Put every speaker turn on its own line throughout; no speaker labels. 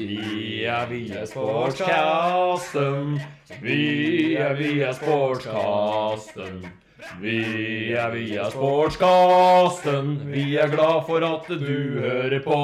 Vi er via sportskasten. Vi er via sportskasten. Vi er via sportskasten. Vi er glad for at du hører på.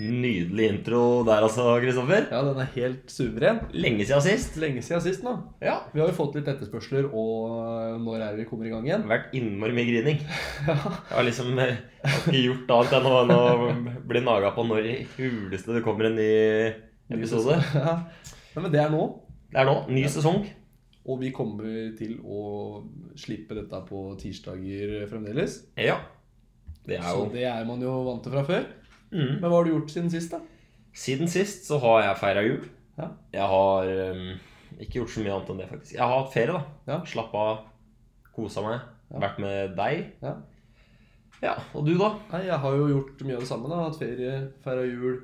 Nydelig intro der altså, Kristoffer.
Ja, den er helt suveren.
Lenge siden sist.
Lenge siden sist nå.
Ja.
Vi har jo fått litt etterspørsler, og når er det vi kommer i gang igjen?
Vært innmari mye grining.
Ja.
Jeg har liksom eh, jeg har ikke gjort annet enn å, enn å bli naga på når i huleste det kommer en ny episode.
Ja. Nei, men det er nå,
Det er nå. Ny sesong.
og vi kommer til å slippe dette på tirsdager fremdeles.
Ja. Det er
Så
jo
det er man jo vant til fra før.
mm.
Men hva har du gjort siden sist, da?
Siden sist så har jeg feira jul.
Ja.
Jeg har eh, ikke gjort så mye annet enn det, faktisk. Jeg har hatt ferie, da.
Ja.
Slappa av, kosa meg.
Ja.
Vært med deg.
Ja.
ja. Og du, da?
Nei, jeg har jo gjort mye av det samme. da Hatt ferie, feira jul,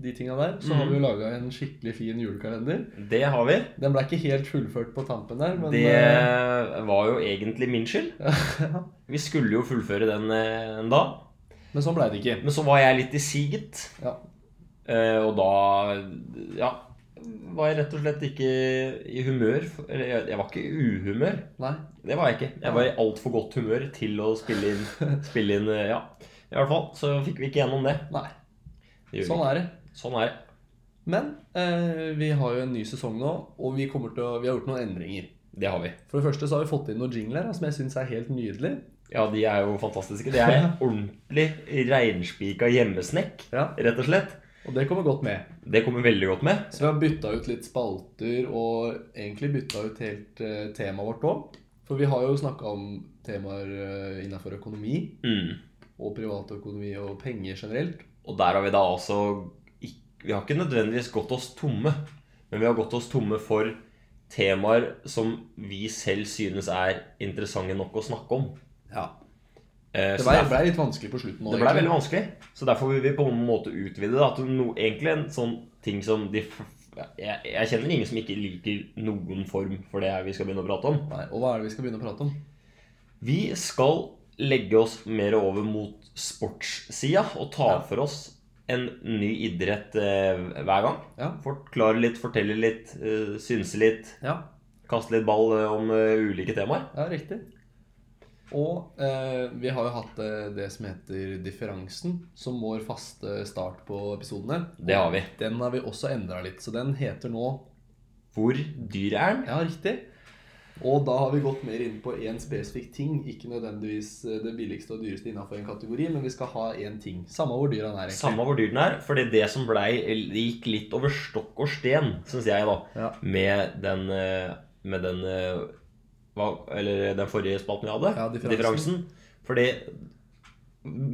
de tinga der. Så
Mhm.
har vi jo laga en skikkelig fin julekalender.
Det har vi.
Den ble ikke helt fullført på tampen der, men eh,
Det var jo egentlig min skyld. Vi skulle jo fullføre den eh, en dag,
Men sånn blei det ikke.
men så var jeg litt i siget.
Ja.
eh, Og da ja, var jeg rett og slett ikke i humør. for- Eller jeg- jeg var ikke i uhumør.
Nei.
Det var jeg ikke. Jeg var i altfor godt humør til å spille inn, spille inn eh, Ja. I hvert fall så fikk vi ikke gjennom det.
Nei.
det gjorde vi
Sånn
ikke.
er det.
sånn er det.
Men eh, vi har jo en ny sesong nå, og vi, kommer til å, vi har gjort noen endringer.
Det har vi.
For det første så har vi fått inn noen jingler da, som jeg syns er helt nydelig.
Ja, de er jo fantastiske. Det er ordentlig reinspika hjemmesnekk,
Ja.
rett og slett.
Og det kommer godt med.
Det kommer veldig godt med.
Så vi har bytta ut litt spalter, og egentlig bytta ut helt eh, temaet vårt òg. For vi har jo snakka om temaer eh, innafor økonomi.
Mm.
og privatøkonomi og penger generelt.
Og der har vi da altså ikk- Vi har ikke nødvendigvis gått oss tomme, men vi har gått oss tomme for temaer som vi selv synes er interessante nok å snakke om.
Ja.
Eh,
Det
så
ble,
derfor-
ble litt vanskelig på slutten nå.
det ble veldig
egentlig.
vanskelig, så derfor vil vi på en måte utvide det. At no, egentlig en sånn ting som de f- jeg, jeg kjenner ingen som ikke liker noen form for det her vi skal begynne å prate om.
Nei, og hva er det vi skal begynne å prate om?
Vi skal legge oss mer over mot sportssida og ta
Ja.
for oss en ny idrett eh, hver gang.
Ja.
Forklare litt, fortelle litt, eh, synse litt,
Ja,
kaste litt ball eh, om eh, ulike temaer.
ja riktig. Og eh, vi har jo hatt eh, det som heter differansen, som vår faste start på episodene.
Det har vi.
Den har vi også endra litt, så den heter nå
Hvor dyr er den?
Ja, riktig. Og da har vi gått mer inn på én spesifikk ting. Ikke nødvendigvis eh, det billigste og dyreste innafor en kategori, men vi skal ha én ting. Samme hvor dyr han er. egentlig.
Samme hvor dyr den er, fordi det som blei eh, Det gikk litt over stokk og sten, syns jeg, da,
Ja.
med den eh, Med den eh, hva, Eller den forrige spalten vi hadde,
Ja,
differansen.
differansen.
Fordi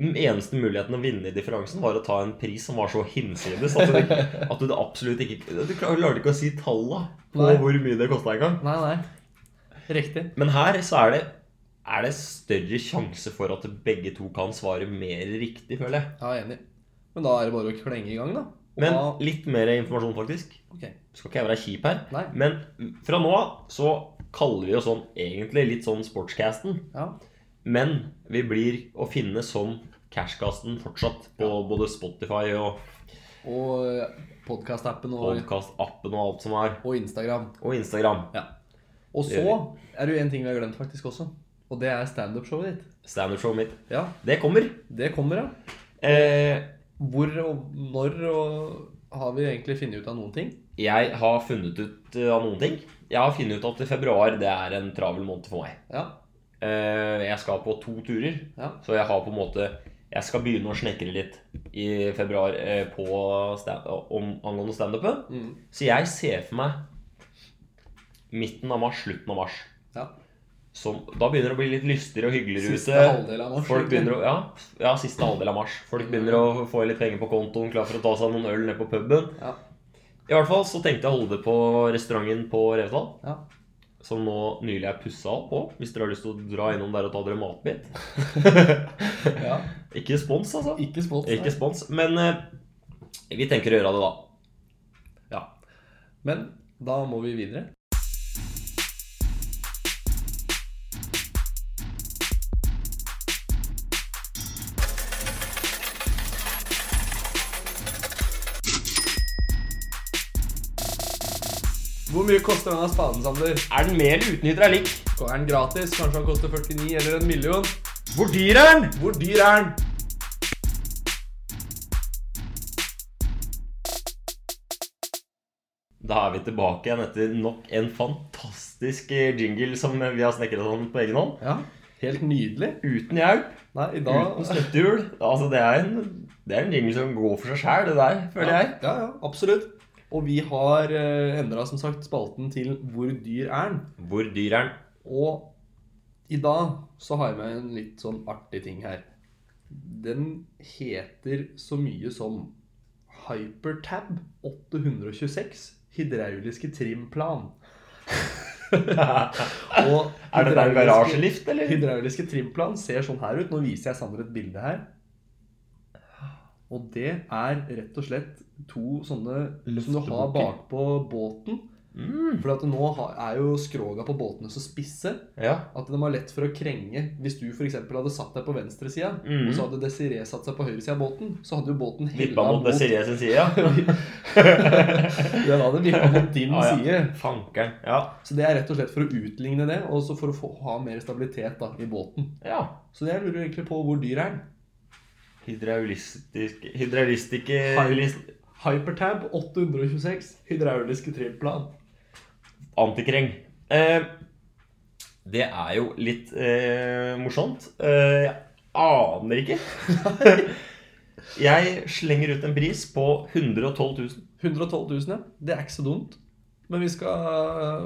den eneste muligheten å vinne i differansen var å ta en pris som var så hinsides at du, ikke- at du absolutt ikke Du klarte ikke å si tallet på
Nei.
hvor mye det kosta engang.
Nei, nei. Riktig.
Men her så er det, er det større sjanse for at begge to kan svare mer riktig, føler jeg.
Ja, enig. Men da er det bare å klenge i gang, da. Og
Men
da,
litt mer informasjon, faktisk.
ok.
Skal ikke jeg være kjip her.
Nei.
Men fra nå av så kaller vi jo sånn egentlig litt sånn Sportscasten.
Ja.
Men vi blir å finne som Cashcasten fortsatt på både Spotify og
Og podkast-appen og,
podkastappen og alt som er.
og Instagram.
Og Instagram.
Og
Det
så er det jo en ting vi har glemt faktisk også. Og det er standup-showet ditt.
Standup-showet mitt.
Ja,
Det kommer.
det kommer, ja.
Eh,
Hvor og når og har vi egentlig funnet ut av noen ting?
Jeg har funnet ut eh, av noen ting. Jeg har funnet ut at februar det er en travel måned for meg.
Ja.
Eh, Jeg skal på to turer,
Ja.
så jeg har på en måte Jeg skal begynne å snekre litt i februar eh, på stand om, angående standupen.
Mm.
Så jeg ser for meg midten av mars, slutten av mars.
ja.
Som, da begynner det å bli litt lystigere og hyggeligere
Siste
ute.
halvdel av mars.
Folk
egentlig.
begynner å, ja, ja, siste halvdel av mars. Folk begynner å få litt penger på kontoen, klar for å ta seg noen øl ned på puben.
Ja.
I hvert fall så tenkte jeg å holde det på restauranten på Revetal,
Ja.
som nå nylig er pussa opp på, hvis dere har lyst til å dra innom der og ta dere matbit.
ja.
Ikke spons, altså.
Ikke spons. nei.
Ikke spons, men eh, vi tenker å gjøre det da.
Ja. Men da må vi videre. Hvor mye koster denne spaden, Sander?
Er den med eller uten hydraulikk?
Er den gratis? Kanskje han koster 49 eller en million?
Hvor dyr er den?
Hvor dyr er den?
Da er vi tilbake igjen etter nok en fantastisk eh, jingle som vi har snekret sånn på egen hånd.
Ja, helt nydelig.
Uten hjelp,
Nei, i dag
uten støttehjul. Altså, det er en, det er en jingle som går for seg sjæl, det der, føler jeg.
Ja, ja, absolutt. Og vi har eh, endra som sagt spalten til 'Hvor dyr er den?'
Hvor dyr er den?
Og i dag så har jeg med en litt sånn artig ting her. Den heter så mye som Hypertab 826 hydrauliske trimplan. Og
Er det der
hydrauliske-
garasjelift, eller?
Hydrauliske trimplan ser sånn her ut. Nå viser jeg Sander et bilde her. Og det er rett og slett to sånne som du har
Løftebukker.
bakpå båten.
Mm,
For at nå har- er jo skroga på båtene så spisse
ja.
at de har lett for å krenge. Hvis du f.eks. hadde satt deg på venstresida,
Mhm.
og så hadde Desiree satt seg på høyresida av båten, så hadde jo båten
Vippa
hella
mot Desiree sin side, ja.
Den hadde vippa mot din
Ah, ja.
side.
Fankeren. Ja.
Så det er rett og slett for å utligne det, og så for å få, ha mer stabilitet da, i båten.
ja.
Så jeg lurer egentlig på hvor dyr er den.
Hydraulistisk Hydraulistiske
Hydraulist- Hypertab 826, hydrauliske trimplan.
Antikreng. Eh, det er jo litt eh, morsomt. Eh, jeg aner ikke. jeg slenger ut en pris på 112 000.
112 000, ja. Det er ikke så dumt. Men vi skal øh,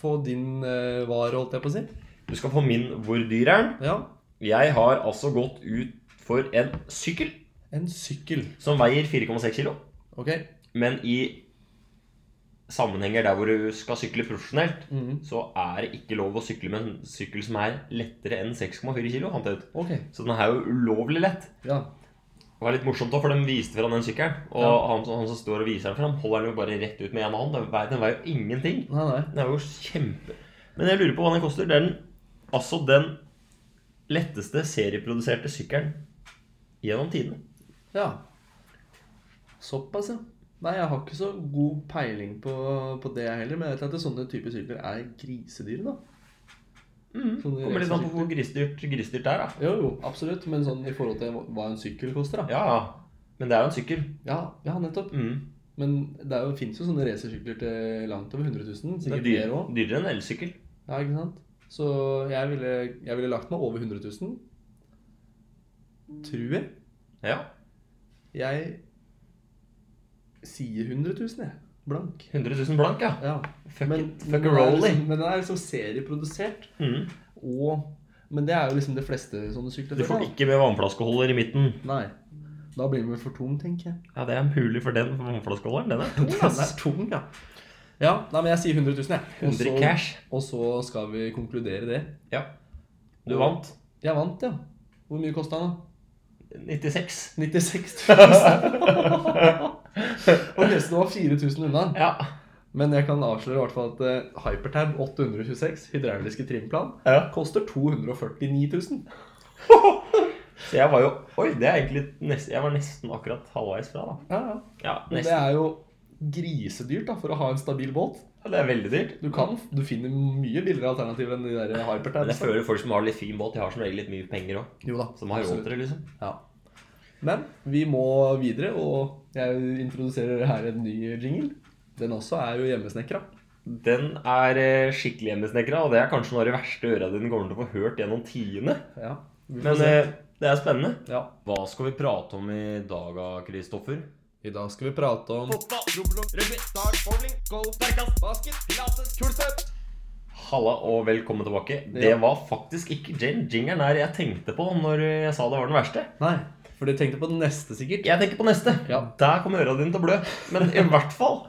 få din øh, vare, holdt jeg på å si.
Du skal få min Hvor dyr er den?
Ja.
Jeg har altså gått ut for en sykkel
En sykkel.
som veier 4,6 kilo.
Ok.
Men i sammenhenger der hvor du skal sykle profesjonelt,
Mhm.
så er det ikke lov å sykle med en sykkel som er lettere enn 6,4 kilo. Fant jeg ut.
Ok.
Så den er jo ulovlig lett.
Ja.
Det var litt morsomt da, for de viste fram den sykkelen. Og
Ja.
han, som- han som står og viser den fram, holder den jo bare rett ut med ene hånd. Den veier, den veier jo ingenting.
Nei, nei.
Den er jo kjempe... Men jeg lurer på hva den koster. Det er den, altså den letteste serieproduserte sykkelen gjennom tidene.
Ja. Såpass, ja. Nei, jeg har ikke så god peiling på, på det jeg heller, men jeg vet at sånne typer sykler er grisedyre, da.
Mm.
Sånne
Kommer litt an på
racersykler.
hvor grisdyrt grisdyrt det er, da.
Jo, jo, absolutt. Men sånn i forhold til hva en sykkel koster, da.
Ja, ja. Men det er jo en sykkel.
Ja, ja nettopp.
Mm.
Men det fins jo sånne racersykler til langt over 100 000.
Det er
Sikkert
dyr,
mer òg.
dyrere enn elsykkel.
Ja, ikke sant? Så jeg ville, jeg ville lagt meg over 100 000. Tror jeg.
Ja.
Jeg sier 100 000, jeg. Blank.
100 000 blank, ja.
Ja.
Fuck,
Men,
it,
men,
fuck
det
a
er
rolly.
liksom, men den er liksom serieprodusert.
Mm.
Og, men det er jo liksom de fleste sånne sykler.
Du
føler
får
jeg,
ikke med vannflaskeholder i midten.
da. Nei. Da blir den vel for tung, tenker jeg.
Ja, det er mulig for den vannflaskeholderen. Den er
Den
tung,
er
ass.
tung, ja. Ja, nei, men jeg sier 100 000, jeg.
100 i cash.
og så skal vi konkludere det.
Ja. Du vant
Jeg vant, ja. Hvor mye kosta den, da?
96.
96 000. ok, så det var 4000 unna.
Ja.
Men jeg kan avsløre i hvert fall at eh, Hypertab 826 hydrauliske trimplan
ja.
koster 249 000.
Så jeg var jo Oi, det er egentlig nesten, jeg var nesten akkurat halvveis fra, da.
Ja, ja.
Ja,
Men det
nesten.
er jo grisedyrt da, for å ha en stabil båt.
Ja, Det er veldig dyrt.
Du kan, du finner mye billigere alternativer enn de der altså.
Men jeg
Hypertabs. da.
føler folk som har litt fin båt, de har som regel litt mye penger òg.
Jo da,
Som har råd
absolutt.
til det, liksom.
Ja. Men vi må videre, og jeg introduserer her en ny jingle. Den også er jo hjemmesnekra.
Den er eh, skikkelig hjemmesnekra, og det er kanskje noe av det verste øra dine kommer til å få hørt gjennom tiende.
Ja, vi får
Men
se.
eh, det er spennende.
ja.
Hva skal vi prate om i dag, Kristoffer?
I dag skal vi prate om
Halla og velkommen tilbake. Det
Ja.
var faktisk ikke den jingeren her jeg tenkte på når jeg sa det var den verste.
Nei, for du tenkte på den neste sikkert.
Jeg tenker på neste.
Ja.
Der kommer øra dine til å blø. Men i hvert fall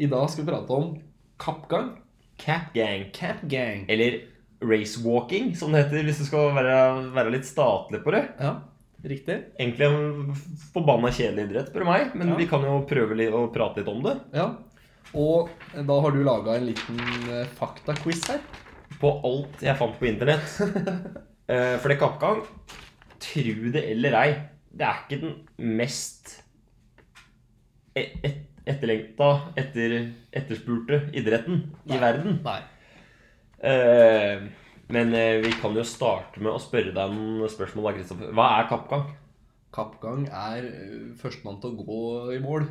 I dag skal vi prate om kappgang.
Cap Gang.
Capgang.
Eller racewalking, som det heter hvis du skal være, være litt statlig på det.
Ja, riktig.
Egentlig en forbanna kjedelig idrett, spør du meg. Men
Ja.
vi kan jo prøve litt å prate litt om det.
Ja. Og da har du laga en liten eh, faktaquiz her.
på alt jeg fant på internett. Eh, For det kappgang, tru det eller ei, det er ikke den mest e- et- etterlengta, etter, etterspurte idretten i verden.
Nei.
Eh, men eh, vi kan jo starte med å spørre deg noen spørsmål. da, Kristoffer. Hva er kappgang?
Kappgang er eh, førstemann til å gå i mål.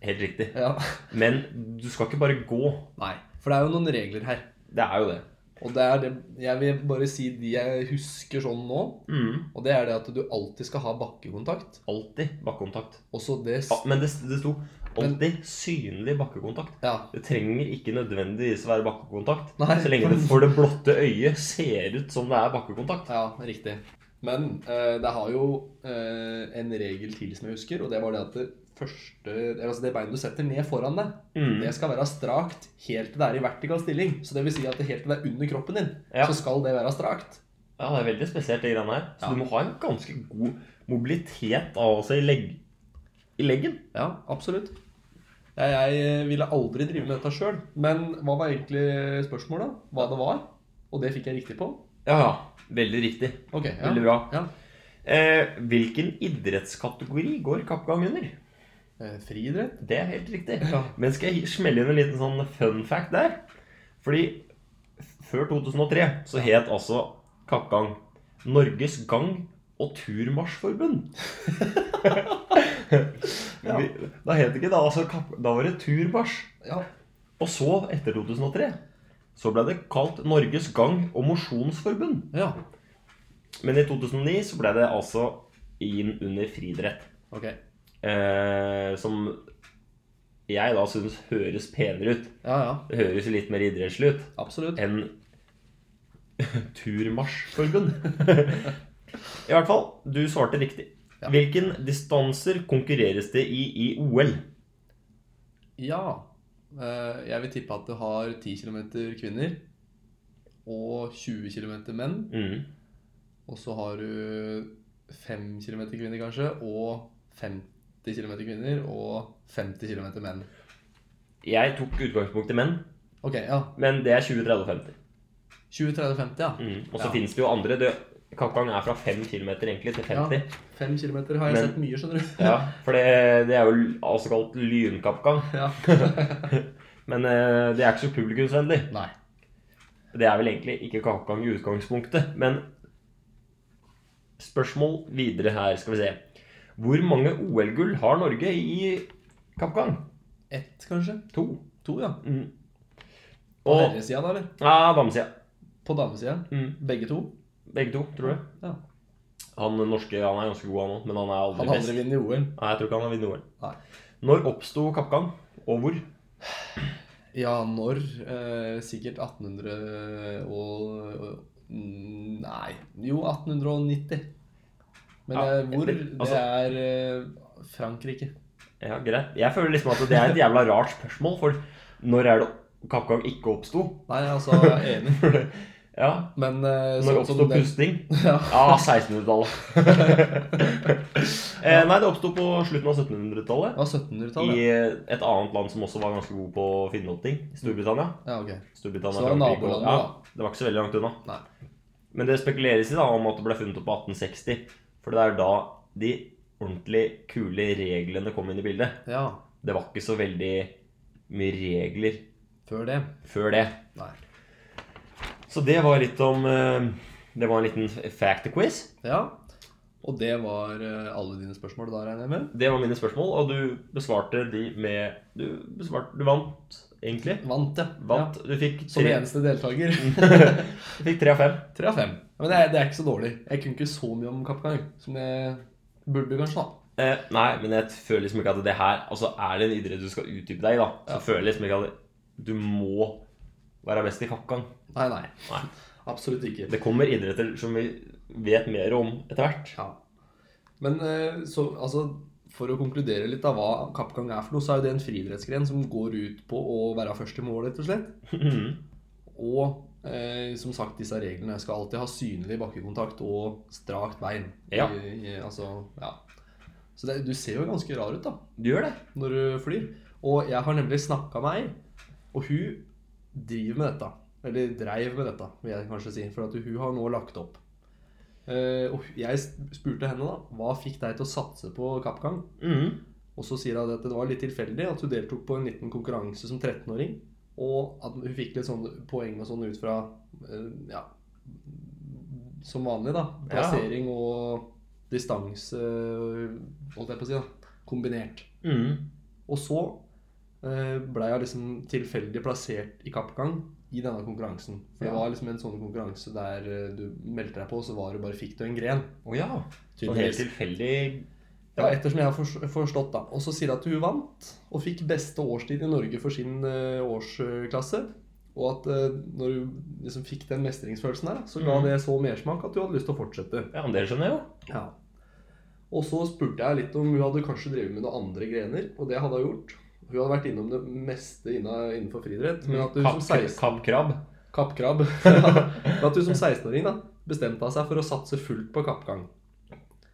Helt riktig.
Ja.
Men du skal ikke bare gå.
Nei. For det er jo noen regler her.
Det er jo det.
Og det er det Jeg vil bare si de jeg husker sånn nå.
Mm.
Og det er det at du alltid skal ha bakkekontakt.
Alltid bakkekontakt.
Og så det s-
Ja, men det, det sto alltid synlig bakkekontakt.
Ja.
Det trenger ikke nødvendigvis være bakkekontakt.
Nei.
Så lenge det for det blotte øyet ser ut som det er bakkekontakt.
ja riktig. Men eh, det har jo eh, en regel til som jeg husker, og det var det at det første Altså det beinet du setter ned foran deg,
Mm.
det skal være strakt helt til det er i vertikal stilling. Så det vil si at det helt til det er under kroppen din,
Ja.
så skal det være strakt.
Ja, det er veldig spesielt, det greiene her. Så
Ja.
du må ha en ganske god mobilitet av seg i, legg, i leggen.
Ja, absolutt. Jeg, jeg eh, ville aldri drive med dette sjøl, men hva var egentlig spørsmålet? Hva det var? Og det fikk jeg riktig på?
Ja, ja. Veldig riktig.
Ok, ja.
Veldig bra.
Ja.
Eh, hvilken idrettskategori går kappgang under?
Eh, Friidrett?
Det er helt riktig.
Ja.
Men skal jeg smelle inn en liten sånn fun fact der? Fordi før 2003 så het altså kappgang Norges gang- og turmarsjforbund.
Ja.
Vi- Da het det ikke da, altså kapp, da var det turmarsj.
Ja.
Og så, etter 2003, så ble det kalt Norges gang- og mosjonsforbund.
ja.
Men i 2009 så ble det altså inn under friidrett.
Ok.
Eh, som jeg da syns høres penere ut.
Ja, ja.
Det høres jo litt mer idrettslig ut
Absolutt.
enn turmarsjforbund. I hvert fall, du svarte riktig.
Ja.
Hvilken distanser konkurreres det i i OL?
Ja. Eh, Jeg vil tippe at du har 10 km kvinner og 20 km menn.
Mm.
Og så har du 5 km kvinner, kanskje, og 50 km kvinner og 50 km menn.
Jeg tok utgangspunkt i menn,
Ok, ja.
men det er 20-30-50.
20, 30, 50, ja.
Mm. Og så
Ja.
finnes det jo andre. Det, Kappgang er fra 5 km egentlig til 50.
5 km har jeg
Men-
sett mye, skjønner du.
Ja. For det, det er jo altså kalt lynkappgang.
Ja.
Men eh, det er ikke så publikumsvennlig.
Nei.
Det er vel egentlig ikke kakegang i utgangspunktet, men spørsmål videre her, skal vi se. Hvor mange OL-gull har Norge i kappgang?
Ett, kanskje?
To.
To, ja.
Mm.
På
Og
herresida, da, eller?
ja, damesida.
På damesida.
Mm.
Begge to.
Begge to, tror jeg.
Ja.
Han norske han er ganske god, han òg, men han er aldri
Han har
best.
aldri vunnet OL.
Nei, jeg tror ikke han har vunnet OL.
Nei.
Når oppsto kappgang, og hvor?
Ja, når? Eh, sikkert 1800 og mm, Nei, jo 1890. Men
Ja,
eh, hvor?
men, altså-
det er eh, Frankrike.
Ja, greit. Jeg føler liksom at det er et jævla rart spørsmål, for når er det kappgang ikke oppsto?
Nei, altså, jeg er enig.
ja,
Men
når
eh, sånn som
oppsto
den-
pusting?
Ja.
Ja, 1600-tallet. eh, nei, det oppsto på slutten av 1700-tallet.
Sånn, Ja,
I
1700-tallet.
et annet land som også var ganske god på å finne opp ting. Storbritannia.
Ja, ok.
Storbritannia
Så det var
Frankrike og-
nabolandet, da.
ja, Det var ikke så veldig langt unna.
Nei.
Men det spekuleres i da om at det ble funnet opp på 1860. For det er da de ordentlig kule reglene kom inn i bildet.
Ja,
Det var ikke så veldig mye regler
før det.
før det.
Nei.
Så det var litt om eh, Det var en liten fact-quiz.
Ja. Og det var eh, alle dine spørsmål da, regner jeg med?
Det var mine spørsmål, og du besvarte de med Du, besvarte, du vant, egentlig.
Vant, ja.
Vant. Du fikk
Ja. Som
tre,
eneste deltaker.
du fikk tre av fem.
Tre av fem. Men det er, det er ikke så dårlig. Jeg kunne ikke så mye om kappgang som jeg burde, kanskje. da.
Eh, nei, men jeg føler liksom ikke at det her Altså, er det en idrett du skal utdype deg i, da, så
Ja.
føler jeg liksom ikke at du må være best i kappgang.
Nei, nei.
Nei.
Absolutt ikke.
Det kommer idretter som vi vet mer om etter hvert.
Ja. Men eh, så, altså, for å konkludere litt av hva kappgang er for noe, så er jo det en friidrettsgren som går ut på å være først i mål, rett og slett.
Mhm.
Og eh, som sagt, disse reglene skal alltid ha synlig bakkekontakt og strakt bein.
Ja.
I, i, altså, ja. Så det, du ser jo ganske rar ut, da
du gjør det.
når du flyr. Og jeg har nemlig snakka med ei, og hun driver med dette. Eller dreiv med dette, vil jeg kanskje si. For at hun har nå lagt opp. Eh, og jeg spurte henne da, hva fikk deg til å satse på kappgang.
Mhm.
Og så sier hun at det var litt tilfeldig at hun deltok på en liten konkurranse som 13-åring. Og at hun fikk litt sånne poeng og sånn ut fra eh, ja, som vanlig, da.
Ja.
Plassering og distanse, holdt jeg på å si, da. Kombinert.
Mm.
Og så eh, ble jeg liksom tilfeldig plassert i kappgang i denne konkurransen. For det
Ja.
var liksom en sånn konkurranse der eh, du meldte deg på, så var du bare fikk du en gren.
Å ja. Så
Tydeligvis.
helt tilfeldig
Ja, ettersom jeg har fors- forstått, da. Og så sier hun at hun vant, og fikk beste årstid i Norge for sin eh, årsklasse. Og at eh, når hun liksom fikk den mestringsfølelsen her, så ga
Mm.
det så mersmak at hun hadde lyst til å fortsette.
Ja, men det skjønner jeg jo.
Ja. Og så spurte jeg litt om hun hadde kanskje drevet med noen andre grener, og det hadde hun gjort. Hun hadde vært innom det meste inna- innenfor friidrett, men at hun som 16
Kappkrabb.
Kappkrabb. men at hun som 16-åring da, bestemte seg for å satse fullt på kappgang.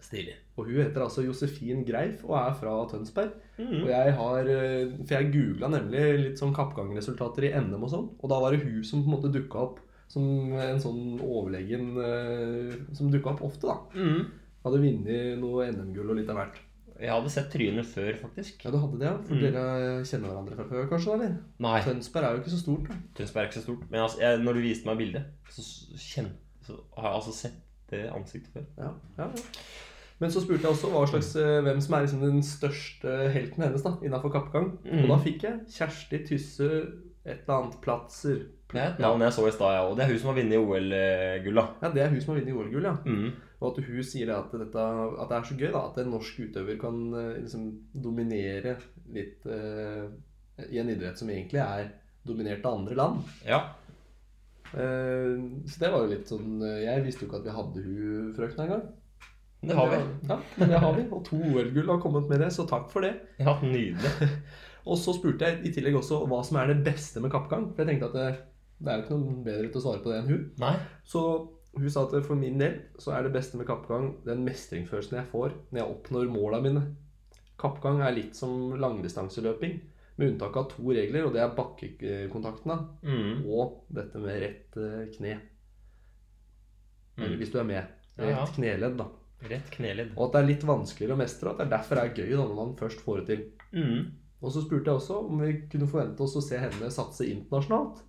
Stilig.
Og hun heter altså Josefin Greif og er fra Tønsberg. Og
Mm.
jeg har, eh, For jeg googla nemlig litt sånn kappgangresultater i NM og sånn, og da var det hun som på en måte dukka opp som en sånn overlegen eh, Som dukka opp ofte, da.
Mm.
Hadde vunnet noe NM-gull og litt av hvert.
Jeg hadde sett trynet før, faktisk.
Ja, du hadde det, ja? For
Mm.
dere kjenner hverandre fra før, kanskje? da, eller?
Nei,
Tønsberg er jo ikke så stort. da.
Tønsberg er ikke så stort. Men altså, jeg, når du viste meg bildet, så, s- kjen- så har jeg altså sett det ansiktet før.
Ja, ja, ja. Men så spurte jeg også hva slags,
Mm.
eh, hvem som er liksom den største helten hennes da, innafor kappgang.
Mm.
Og da fikk jeg Kjersti Tysse et eller annet Platzer.
Det er et navn jeg så i stad, jeg òg. Det er hun som har vunnet OL-gull, da.
Ja, Det er hun som har vunnet OL-gull, ja.
Mm.
Og at hun sier det at, dette, at det er så gøy da, at en norsk utøver kan eh, liksom, dominere litt eh, i en idrett som egentlig er dominert av andre land.
Ja.
Eh, Så det var jo litt sånn eh, Jeg visste jo ikke at vi hadde hun frøkna engang.
Det har vi.
Ja, men det har vi. Og to OL-gull har kommet med det, så takk for det.
Ja, nydelig.
Og så spurte jeg i tillegg også hva som er det beste med kappgang. For jeg tenkte at det, det er jo ikke noe bedre til å svare på det enn hun.
Nei.
Så hun sa at for min del så er det beste med kappgang den mestringsfølelsen jeg får når jeg oppnår måla mine. Kappgang er litt som langdistanseløping, med unntak av to regler, og det er bakkekontakten da,
Mm.
og dette med rett eh, kne. Eller
Mm.
hvis du er med.
Ja, ja.
Rett kneledd, da.
Rett kneledd.
Og at det er litt vanskeligere å mestre, og at det er derfor det er gøy da, når man først får det til.
Mm.
Og så spurte jeg også om vi kunne forvente oss å se henne satse internasjonalt.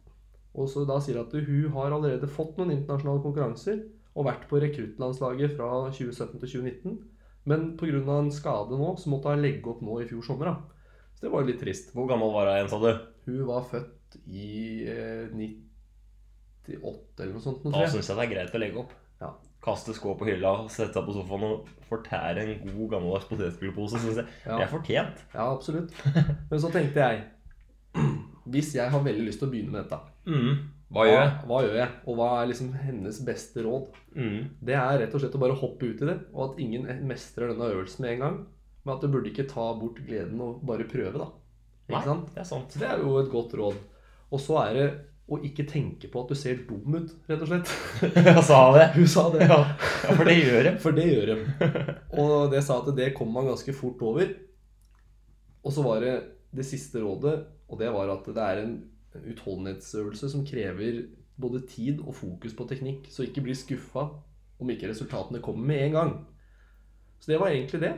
Og så da sier jeg at hun har allerede fått noen internasjonale konkurranser og vært på rekruttlandslaget fra 2017 til 2019. Men pga. en skade nå, så måtte hun legge opp nå i fjor sommer. da. Så det var jo litt trist.
Hvor gammel var hun igjen, sa du?
Hun var født i eh, 98 eller noe sånt. nå,
Da
tror jeg.
syns jeg det er greit å legge opp.
Ja.
Kaste skå på hylla, sette seg på sofaen og fortære en god gammeldags potetgullpose. Synes jeg.
Ja.
Det er fortjent.
Ja, absolutt. Men så tenkte jeg Hvis jeg har veldig lyst til å begynne med dette,
Mm. Hva gjør jeg?
hva gjør jeg? Og hva er liksom hennes beste råd?
Mm.
Det er rett og slett å bare hoppe ut i det, og at ingen mestrer denne øvelsen med en gang. Men at du burde ikke ta bort gleden og bare prøve, da. Ikke
Nei,
sant?
det er sant.
Så det er jo et godt råd. Og så er det å ikke tenke på at du ser dum ut, rett og slett.
Jeg sa det.
Hun sa det.
Ja, ja, for det gjør jeg.
For det gjør de. Og det sa at det kom man ganske fort over. Og så var det det siste rådet, og det var at det er en utholdenhetsøvelse som krever både tid og fokus på teknikk, så ikke bli skuffa om ikke resultatene kommer med en gang. Så det var egentlig det.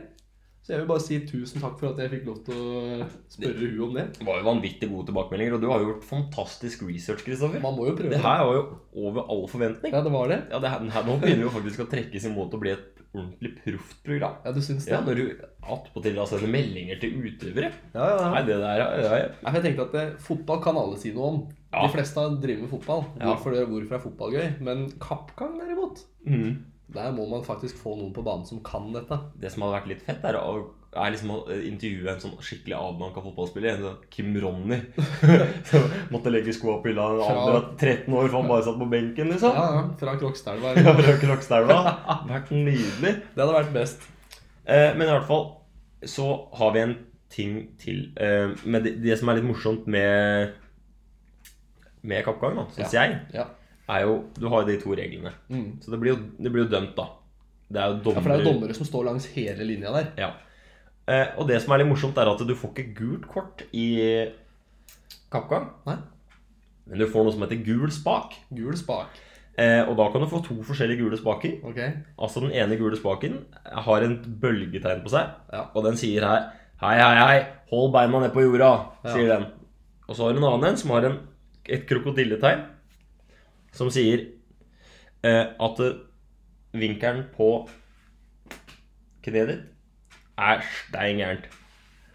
Så jeg vil bare si tusen takk for at jeg fikk lov til å spørre hun om det.
Det var jo vanvittig gode tilbakemeldinger, og du har jo gjort fantastisk research, Kristoffer.
Man må jo prøve.
Det her var jo over all forventning.
Ja, det var det?
Ja, det her, den her, nå begynner vi jo faktisk å trekkes imot å bli et ordentlig proft program.
Ja, du syns det?
Ja, når du attpåtil altså, sender meldinger til utøvere.
Ja, ja, ja.
Nei, det der er- det er-
Nei, for Jeg tenkte at eh, Fotball kan alle si noe om.
Ja.
De fleste driver med fotball.
Ja.
Hvorfor, det, hvorfor er fotball gøy? Men kappgang, derimot
mm.
Der må man faktisk få noen på banen som kan dette.
Det som hadde vært litt fett, er, å, er liksom å intervjue en sånn skikkelig avdanka fotballspiller. En sånn Kim Ronny. Som måtte legge skoa på hylla i en alder av 13 år, for han bare satt på benken, liksom.
Ja, ja, Fra Krokstadelva.
Ja.
eller-
Røk Rokstaua. Vært nydelig.
Det hadde vært best.
Eh, men i hvert fall så har vi en ting til. Eh, men det, det som er litt morsomt med Med kappgang, da, syns jeg,
Ja.
er jo Du har jo de to reglene.
Mm.
Så det blir jo, det blir jo dømt, da. Det er jo
ja,
dommer.
For det er jo dommere som står langs hele linja der.
Ja. Eh, og det som er litt morsomt, er at du får ikke gult kort i kappgang.
Nei.
Men du får noe som heter gul spak.
Gul spak.
Eh, og da kan du få to forskjellige gule spaker.
Ok.
Altså Den ene gule spaken har en bølgetegn på seg,
Ja.
og den sier her Hei, hei, hei, hold beina ned på jorda,
Ja.
sier den. Og så har du en annen en som har en, et krokodilletegn, som sier eh, at eh, vinkelen på kneet ditt er stein gærent.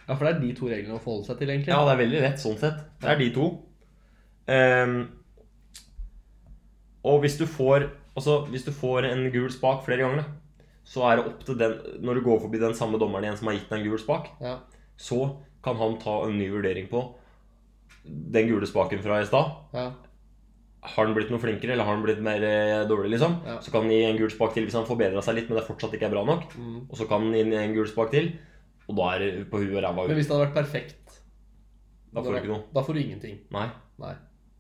Ja, for det er de to reglene å forholde seg til, egentlig.
Ja, det er veldig lett sånn sett. Det er de to. Ehm, og hvis du får Altså, hvis du får en gul spak flere ganger, da, så er det opp til den Når du går forbi den samme dommeren igjen som har gitt deg en gul spak,
Ja.
så kan han ta en ny vurdering på den gule spaken fra i stad.
Ja.
Har den blitt noe flinkere, eller har den blitt mer eh, dårlig, liksom?
Ja.
Så kan han gi en gul spak til hvis han forbedra seg litt, men det fortsatt ikke er bra nok.
Mm.
Og så kan han gi en gul spak til, og da er det på huet og ræva
Men
ut.
hvis det hadde vært perfekt
Da får du ikke noe.
Da får du ingenting.
Nei.
Nei.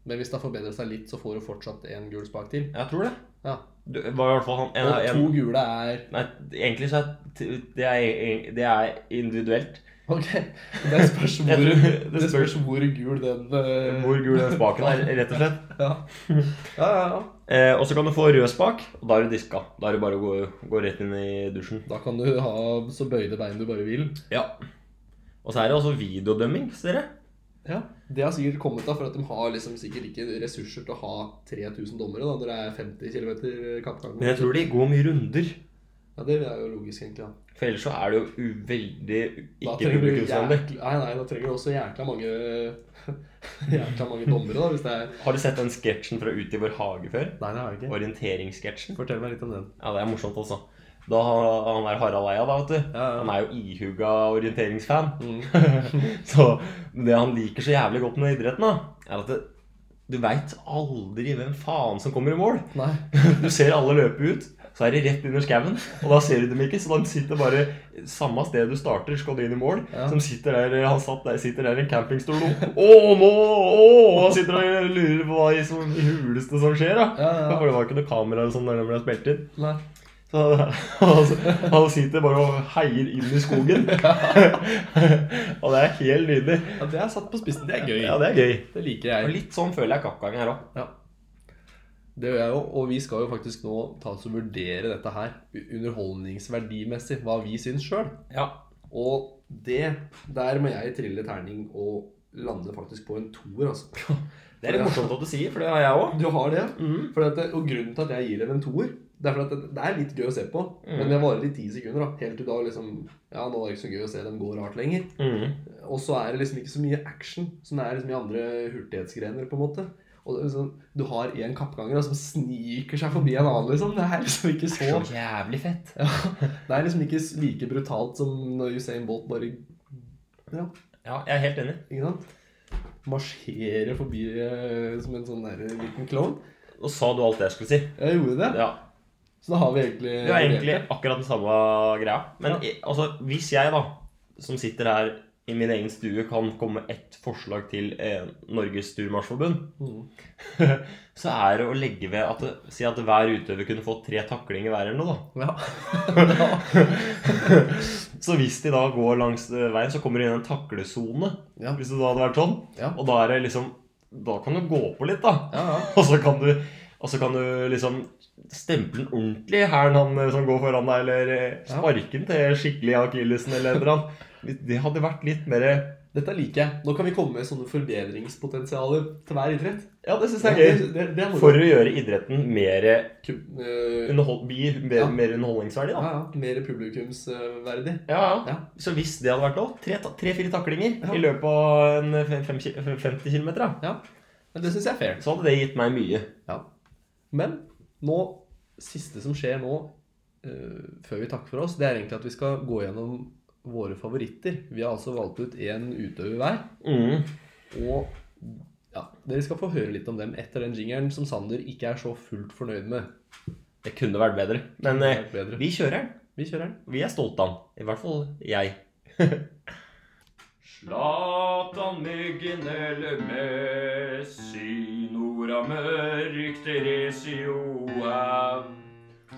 Men hvis det har forbedret seg litt, så får du fortsatt en gul spak til.
Jeg tror det.
Ja.
Du, var i hvert fall han en,
Og
en,
to gule er
Nei, egentlig så er t- det er, e- det er individuelt.
Ok, det spørs
Jeg
hvor,
tror- det
det spørs hvor gul den eh,
Hvor gul den spaken er, rett og slett.
Ja. ja, ja, ja.
Eh, og så kan du få rød spak, og da er du diska. Da er det bare å gå, gå rett inn i dusjen.
Da kan du ha så bøyde bein du bare vil.
Ja. Og så er det også videodømming, ser dere.
Ja, Det har sikkert kommet av for at de har liksom sikkert ikke ressurser til å ha 3000 dommere da, når det er 50 km kappgang.
Men jeg tror de går mye runder.
Ja, det er jo logisk, egentlig. Ja.
For ellers så er det jo u- veldig
Da
ikke
trenger du
publikumsvennlig.
jækla- Nei, nei, da trenger du også jækla mange Jækla mange dommere, da, hvis det er
Har du sett den sketsjen fra Ute i vår hage før?
Nei, det har jeg
Orienteringssketsjen.
Fortell meg litt om den.
Ja, det er morsomt, altså. Da har- han der Harald Eia, da, vet du.
Ja, ja.
Han er jo ihuga orienteringsfan.
Mm.
Så det han liker så jævlig godt med idretten, da, er at det, du veit aldri hvem faen som kommer i mål.
Nei.
Du ser alle løpe ut, så er de rett under skauen, og da ser du dem ikke. Så de sitter bare samme sted du starter, skal du inn i mål.
Ja.
Som sitter der, Han satt der, sitter der i en campingstol nå. Å, nå! Å! Og han sitter og lurer på hva i som i huleste som skjer, da.
Ja, ja.
For det var ikke noe kamera eller sånn der de ble spilt inn.
nei.
Så han, han sitter bare og heier inn i skogen. og det er helt nydelig.
Ja, det er satt på spissen. Det er gøy.
Ja, det er gøy.
Det liker jeg.
Og litt sånn føler jeg kappgangen her òg.
Det gjør jeg jo, og vi skal jo faktisk nå ta oss og vurdere dette her u- underholdningsverdimessig, hva vi syns sjøl.
Ja.
Og det Der må jeg trille terning og lande faktisk på en toer, altså.
Det er litt morsomt at du sier, for det har jeg òg.
Du har det?
Mhm.
Fordi at, det- og grunnen til at jeg gir dem en toer, det er fordi at det, det er litt gøy å se på. Men det varer i ti sekunder, da. Helt til da liksom Ja, nå er det ikke så gøy å se dem gå rart lenger.
Mm.
Og så er det liksom ikke så mye action som det er liksom i andre hurtighetsgrener, på en måte. Og det er liksom, Du har en kappganger da, som sniker seg forbi en annen, liksom. Det er liksom ikke så
Så jævlig fett.
ja, Det er liksom ikke like brutalt som når Usain Bolt bare Ja,
Ja, jeg er helt enig.
ikke sant? Marsjerer forbi eh, som en sånn der liten klovn.
Nå sa du alt det jeg skulle si.
Jeg gjorde det.
Ja,
Så da har vi egentlig
Det er egentlig akkurat den samme greia. Men i- altså, hvis jeg, da, som sitter her i min egen stue, kan komme med ett forslag til eh, Norges Turmarsjforbund,
Mhm.
så er det å legge ved at det, Si at hver utøver kunne få tre taklinger hver eller noe, da.
Ja.
Så hvis de da går langs eh, veien, så kommer de inn i en taklesone.
Ja.
Hvis det da hadde vært sånn.
Ja.
Og da er det liksom Da kan du gå på litt, da.
ja, ja.
Og så kan du og så kan du liksom stemple den ordentlig i hælen, han eh, som går foran deg, eller eh,
Ja.
sparke den til skikkelig i akillesen eller et eller annet. Det hadde vært litt mer Ja,
Dette liker jeg. Nå kan vi komme med sånne forbedringspotensialer til hver idrett.
det syns jeg er gøy.
det, det er moro.
For å gjøre idretten mer, eh,
Kun- eh,
underhold, bli mer,
Ja.
mer underholdningsverdig, da.
Ja, ja. Mer publikumsverdig.
Ja, ja.
Ja.
Så hvis det hadde vært lov, tre-fire taklinger
Ja.
i løpet av en fem, fem, ki- 50 km, da.
Ja. Men det syns jeg er fair.
så hadde det gitt meg mye.
Ja. Men nå Siste som skjer nå, eh, før vi takker for oss, det er egentlig at vi skal gå gjennom våre favoritter. Vi har altså valgt ut én utøver hver.
Mm.
Og ja, dere skal få høre litt om dem etter den jingeren som Sander ikke er så fullt fornøyd med.
Det kunne vært bedre. Men eh,
Vært bedre.
vi kjører den.
Vi kjører den.
Vi er stolte av den. I hvert fall jeg.
Zlatan, Myggen eller Messi, Nora Mørk, Theresio Haug,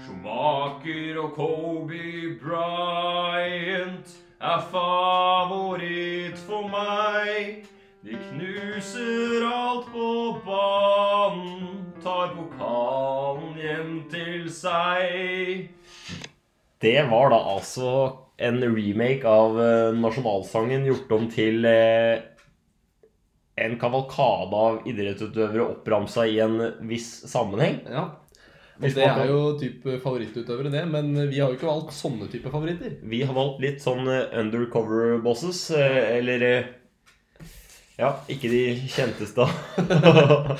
Schumacher og Kobe Bryant er favoritt for meg. De knuser alt på banen, tar pokalen hjem til seg.
Det var da altså en remake av eh, nasjonalsangen gjort om til eh, en kavalkade av idrettsutøvere oppramsa i en viss sammenheng.
Ja. Og
Hvis
det
man-
er jo type favorittutøvere, det. Men vi har jo ikke valgt sånne type favoritter.
Vi har valgt litt sånn eh, undercover bosses, eh, eller eh, Ja, ikke de kjenteste av
Ikke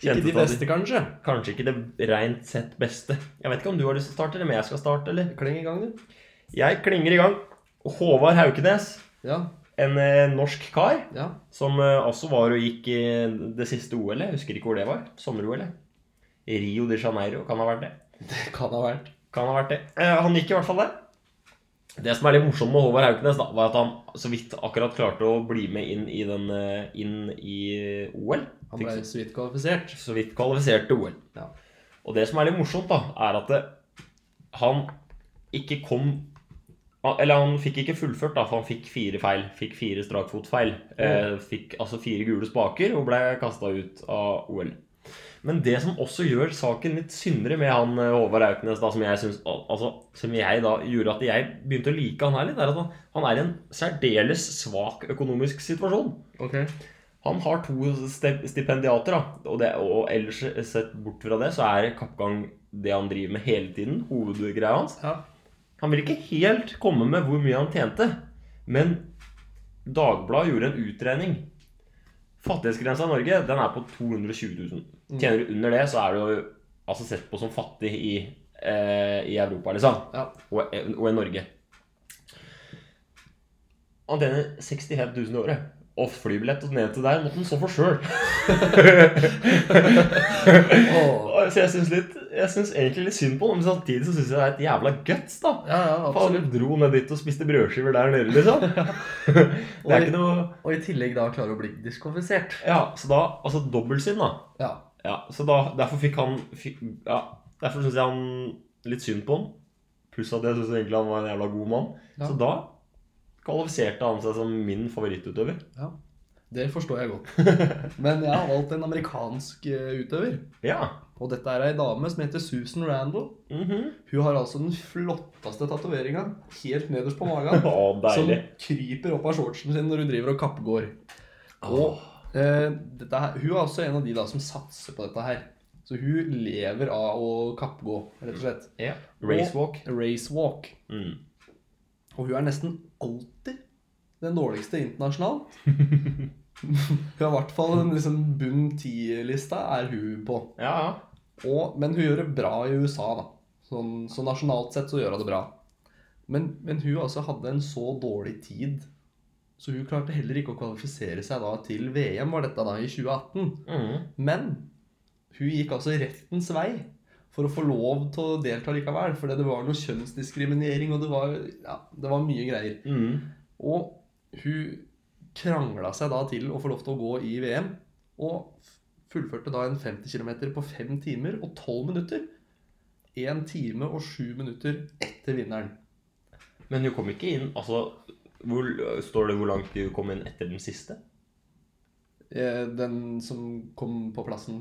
Kjenteste
de
av
beste, kanskje.
Kanskje ikke det rent sett beste. Jeg vet ikke om du har lyst til å starte, eller om jeg skal starte, eller?
Kleng i gang, du.
Jeg klinger i gang. Håvard Haukenes,
Ja.
en eh, norsk kar
ja.
som eh, også var og gikk i det siste OL-et. Jeg Husker ikke hvor det var. Sommer-OL-et. I Rio de Janeiro kan ha vært det.
Det kan ha vært.
Kan ha vært det. Eh, han gikk i hvert fall der. Det som er litt morsomt med Håvard Haukenes, da, var at han så vidt akkurat klarte å bli med inn i, den, eh, inn i E. OL.
Han
Fikk
ble så vidt kvalifisert.
så vidt kvalifisert til OL.
Ja.
Og det som er litt morsomt, da, er at det, han ikke kom han- Eller han fikk ikke fullført, da, for han fikk fire feil. Fikk fire strakfotfeil. Eh, fikk altså fire gule spaker og ble kasta ut av OL. Men det som også gjør saken litt syndere med han eh, Håvard Auknes, da, som jeg synes, al- altså, som jeg da gjorde at jeg begynte å like han her litt, er at han, han er i en særdeles svak økonomisk situasjon.
Ok.
Han har to ste- stipendiater, da. Og, det, og ellers eh, sett bort fra det, så er kappgang det han driver med hele tiden. Hovedgreia hans.
Ja.
Han vil ikke helt komme med hvor mye han tjente, men Dagbladet gjorde en utregning. Fattighetsgrensa i Norge den er på 220 000.
Mm.
Tjener du under det, så er du altså sett på som fattig i, eh, i Europa, liksom
ja.
og, og i Norge. Han tjener 60 helt 1000 i året. Og flybillett og ned til der måtte han stå for sjøl.
Åh.
Så jeg syns litt Jeg synes egentlig litt synd på ham, men samtidig så syns jeg det er et jævla guts, da.
Ja, ja,
Faen,
absolutt.
han dro ned dit og spiste brødskiver der nede, liksom. Det er ikke noe
Og i tillegg da klare å bli diskvalifisert.
Ja, så da Altså dobbeltsinn, da.
Ja.
Ja, så da, derfor fikk han fikk, ja, Derfor syns jeg han litt synd på han. Pluss at jeg syns egentlig han var en jævla god mann.
Ja.
Så da kvalifiserte han seg som min favorittutøver.
ja. Det forstår jeg godt. Men jeg har valgt en amerikansk eh, utøver.
Ja.
Og dette er ei dame som heter Susan Randall.
mhm.
Hun har altså den flotteste tatoveringa helt nederst på magen.
Å,
som
deilig.
kryper opp av shortsen sin når hun driver og kappgår.
Åh.
Eh, dette her, hun er også en av de da som satser på dette her. Så hun lever av å kappgå, rett og slett.
Ja. Racewalk.
Race walk.
Mm.
Og hun er nesten alltid den dårligste internasjonalt. hun har i hvert fall en liksom bunn ti-lista er hun på.
Ja, ja.
Og, men hun gjør det bra i USA, da. Sånn, så nasjonalt sett så gjør hun det bra. Men, men hun altså hadde en så dårlig tid, så hun klarte heller ikke å kvalifisere seg da til VM, var dette da i 2018.
Mhm.
Men hun gikk altså rettens vei for å få lov til å delta likevel. Fordi det var noe kjønnsdiskriminering, og det var, ja, det var mye greier.
Mhm.
Og hun krangla seg da til å få lov til å gå i VM, og fullførte da en 50 km på 5 timer og 12 minutter. 1 time og 7 minutter etter vinneren.
Men hun kom ikke inn Altså, hvor, står det hvor langt hun kom inn etter den siste?
Eh, Den som kom på plassen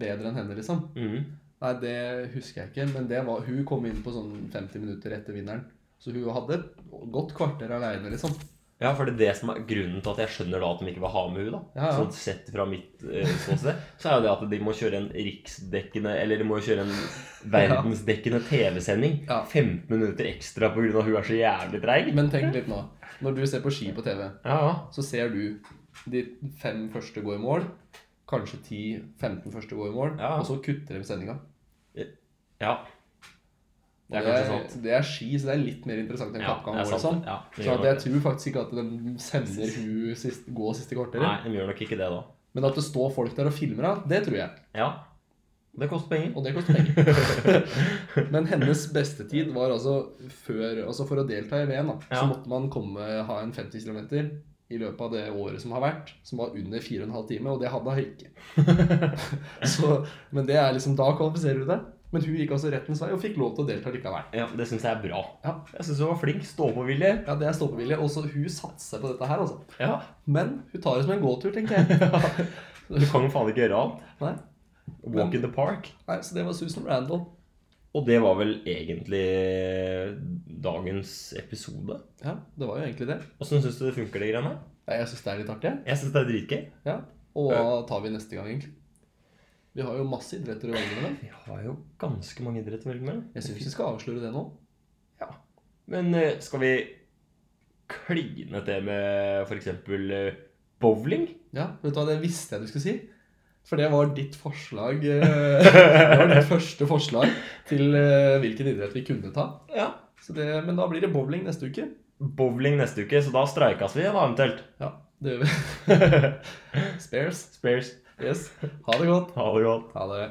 bedre enn henne, liksom.
Mhm.
Nei, det husker jeg ikke, men det var, hun kom inn på sånn 50 minutter etter vinneren. Så hun hadde et godt kvarter aleine, liksom.
Ja, for det er det som er grunnen til at jeg skjønner da at de ikke vil ha med henne. da.
Ja, ja.
Sånn sett fra mitt eh, ståsted, så er jo det at de må kjøre en riksdekkende Eller de må jo kjøre en verdensdekkende TV-sending.
Ja.
15 minutter ekstra pga. hun er så jævlig treig.
Men tenk litt nå. Når du ser på ski på TV,
Ja, ja.
så ser du de fem første gå i mål. Kanskje 10-15 første gå i mål,
Ja.
og så kutter de sendinga.
ja. Det er kanskje sant.
det er ski, så det er litt mer interessant enn
Ja, det
kappgang.
er
og
sant.
sånn.
Ja, det
så
gjør
at
nok
jeg tror faktisk ikke at de sender hun sist, gå siste
Nei,
kvarteret.
de gjør nok ikke det da.
Men at det står folk der og filmer henne, det tror jeg.
Ja. Det koster penger.
Og det koster penger. Men hennes beste tid var altså før Altså for å delta i VM, da, så
Ja.
måtte man komme ha en 50 km i løpet av det året som har vært, som var under 4,5 timer, og det hadde hun ikke. så, men det er liksom Da kvalifiserer du deg. Men hun gikk altså rettens vei og fikk lov til å delta likevel.
Ja, Det syns jeg er bra.
Ja.
Jeg syns hun var flink. Stå-på-vilje.
Ja, Det er stoppevilje. Og så hun satser på dette her, altså.
Ja.
Men hun tar det som en gåtur, tenker jeg.
Du kan jo faen ikke gjøre annet.
Nei.
Walk in the park.
Nei, så det var Susan Randall.
Og det var vel egentlig dagens episode.
Ja, det var jo egentlig det.
Åssen syns du det funker, de greiene?
Nei, Jeg syns det er litt artig. jeg.
Jeg syns det er dritgøy.
Ja. Og hva tar vi neste gang, egentlig? Vi har jo masse idretter å velge mellom.
Vi har jo ganske mange idretter å velge mellom.
Jeg syns vi skal avsløre det nå.
Ja. Men eh, skal vi kline til med f.eks. bowling?
Ja, vet du hva, Det visste jeg du skulle si. For det var ditt forslag eh, Det var ditt første forslag til eh, hvilken idrett vi kunne ta.
Ja.
Så det, men da blir det bowling neste uke.
Bowling neste uke, så da streikas vi, da, eventuelt.
Ja, det gjør vi. Spares.
Spares.
Yes. Ha det godt.
Ha det godt.
Ha det.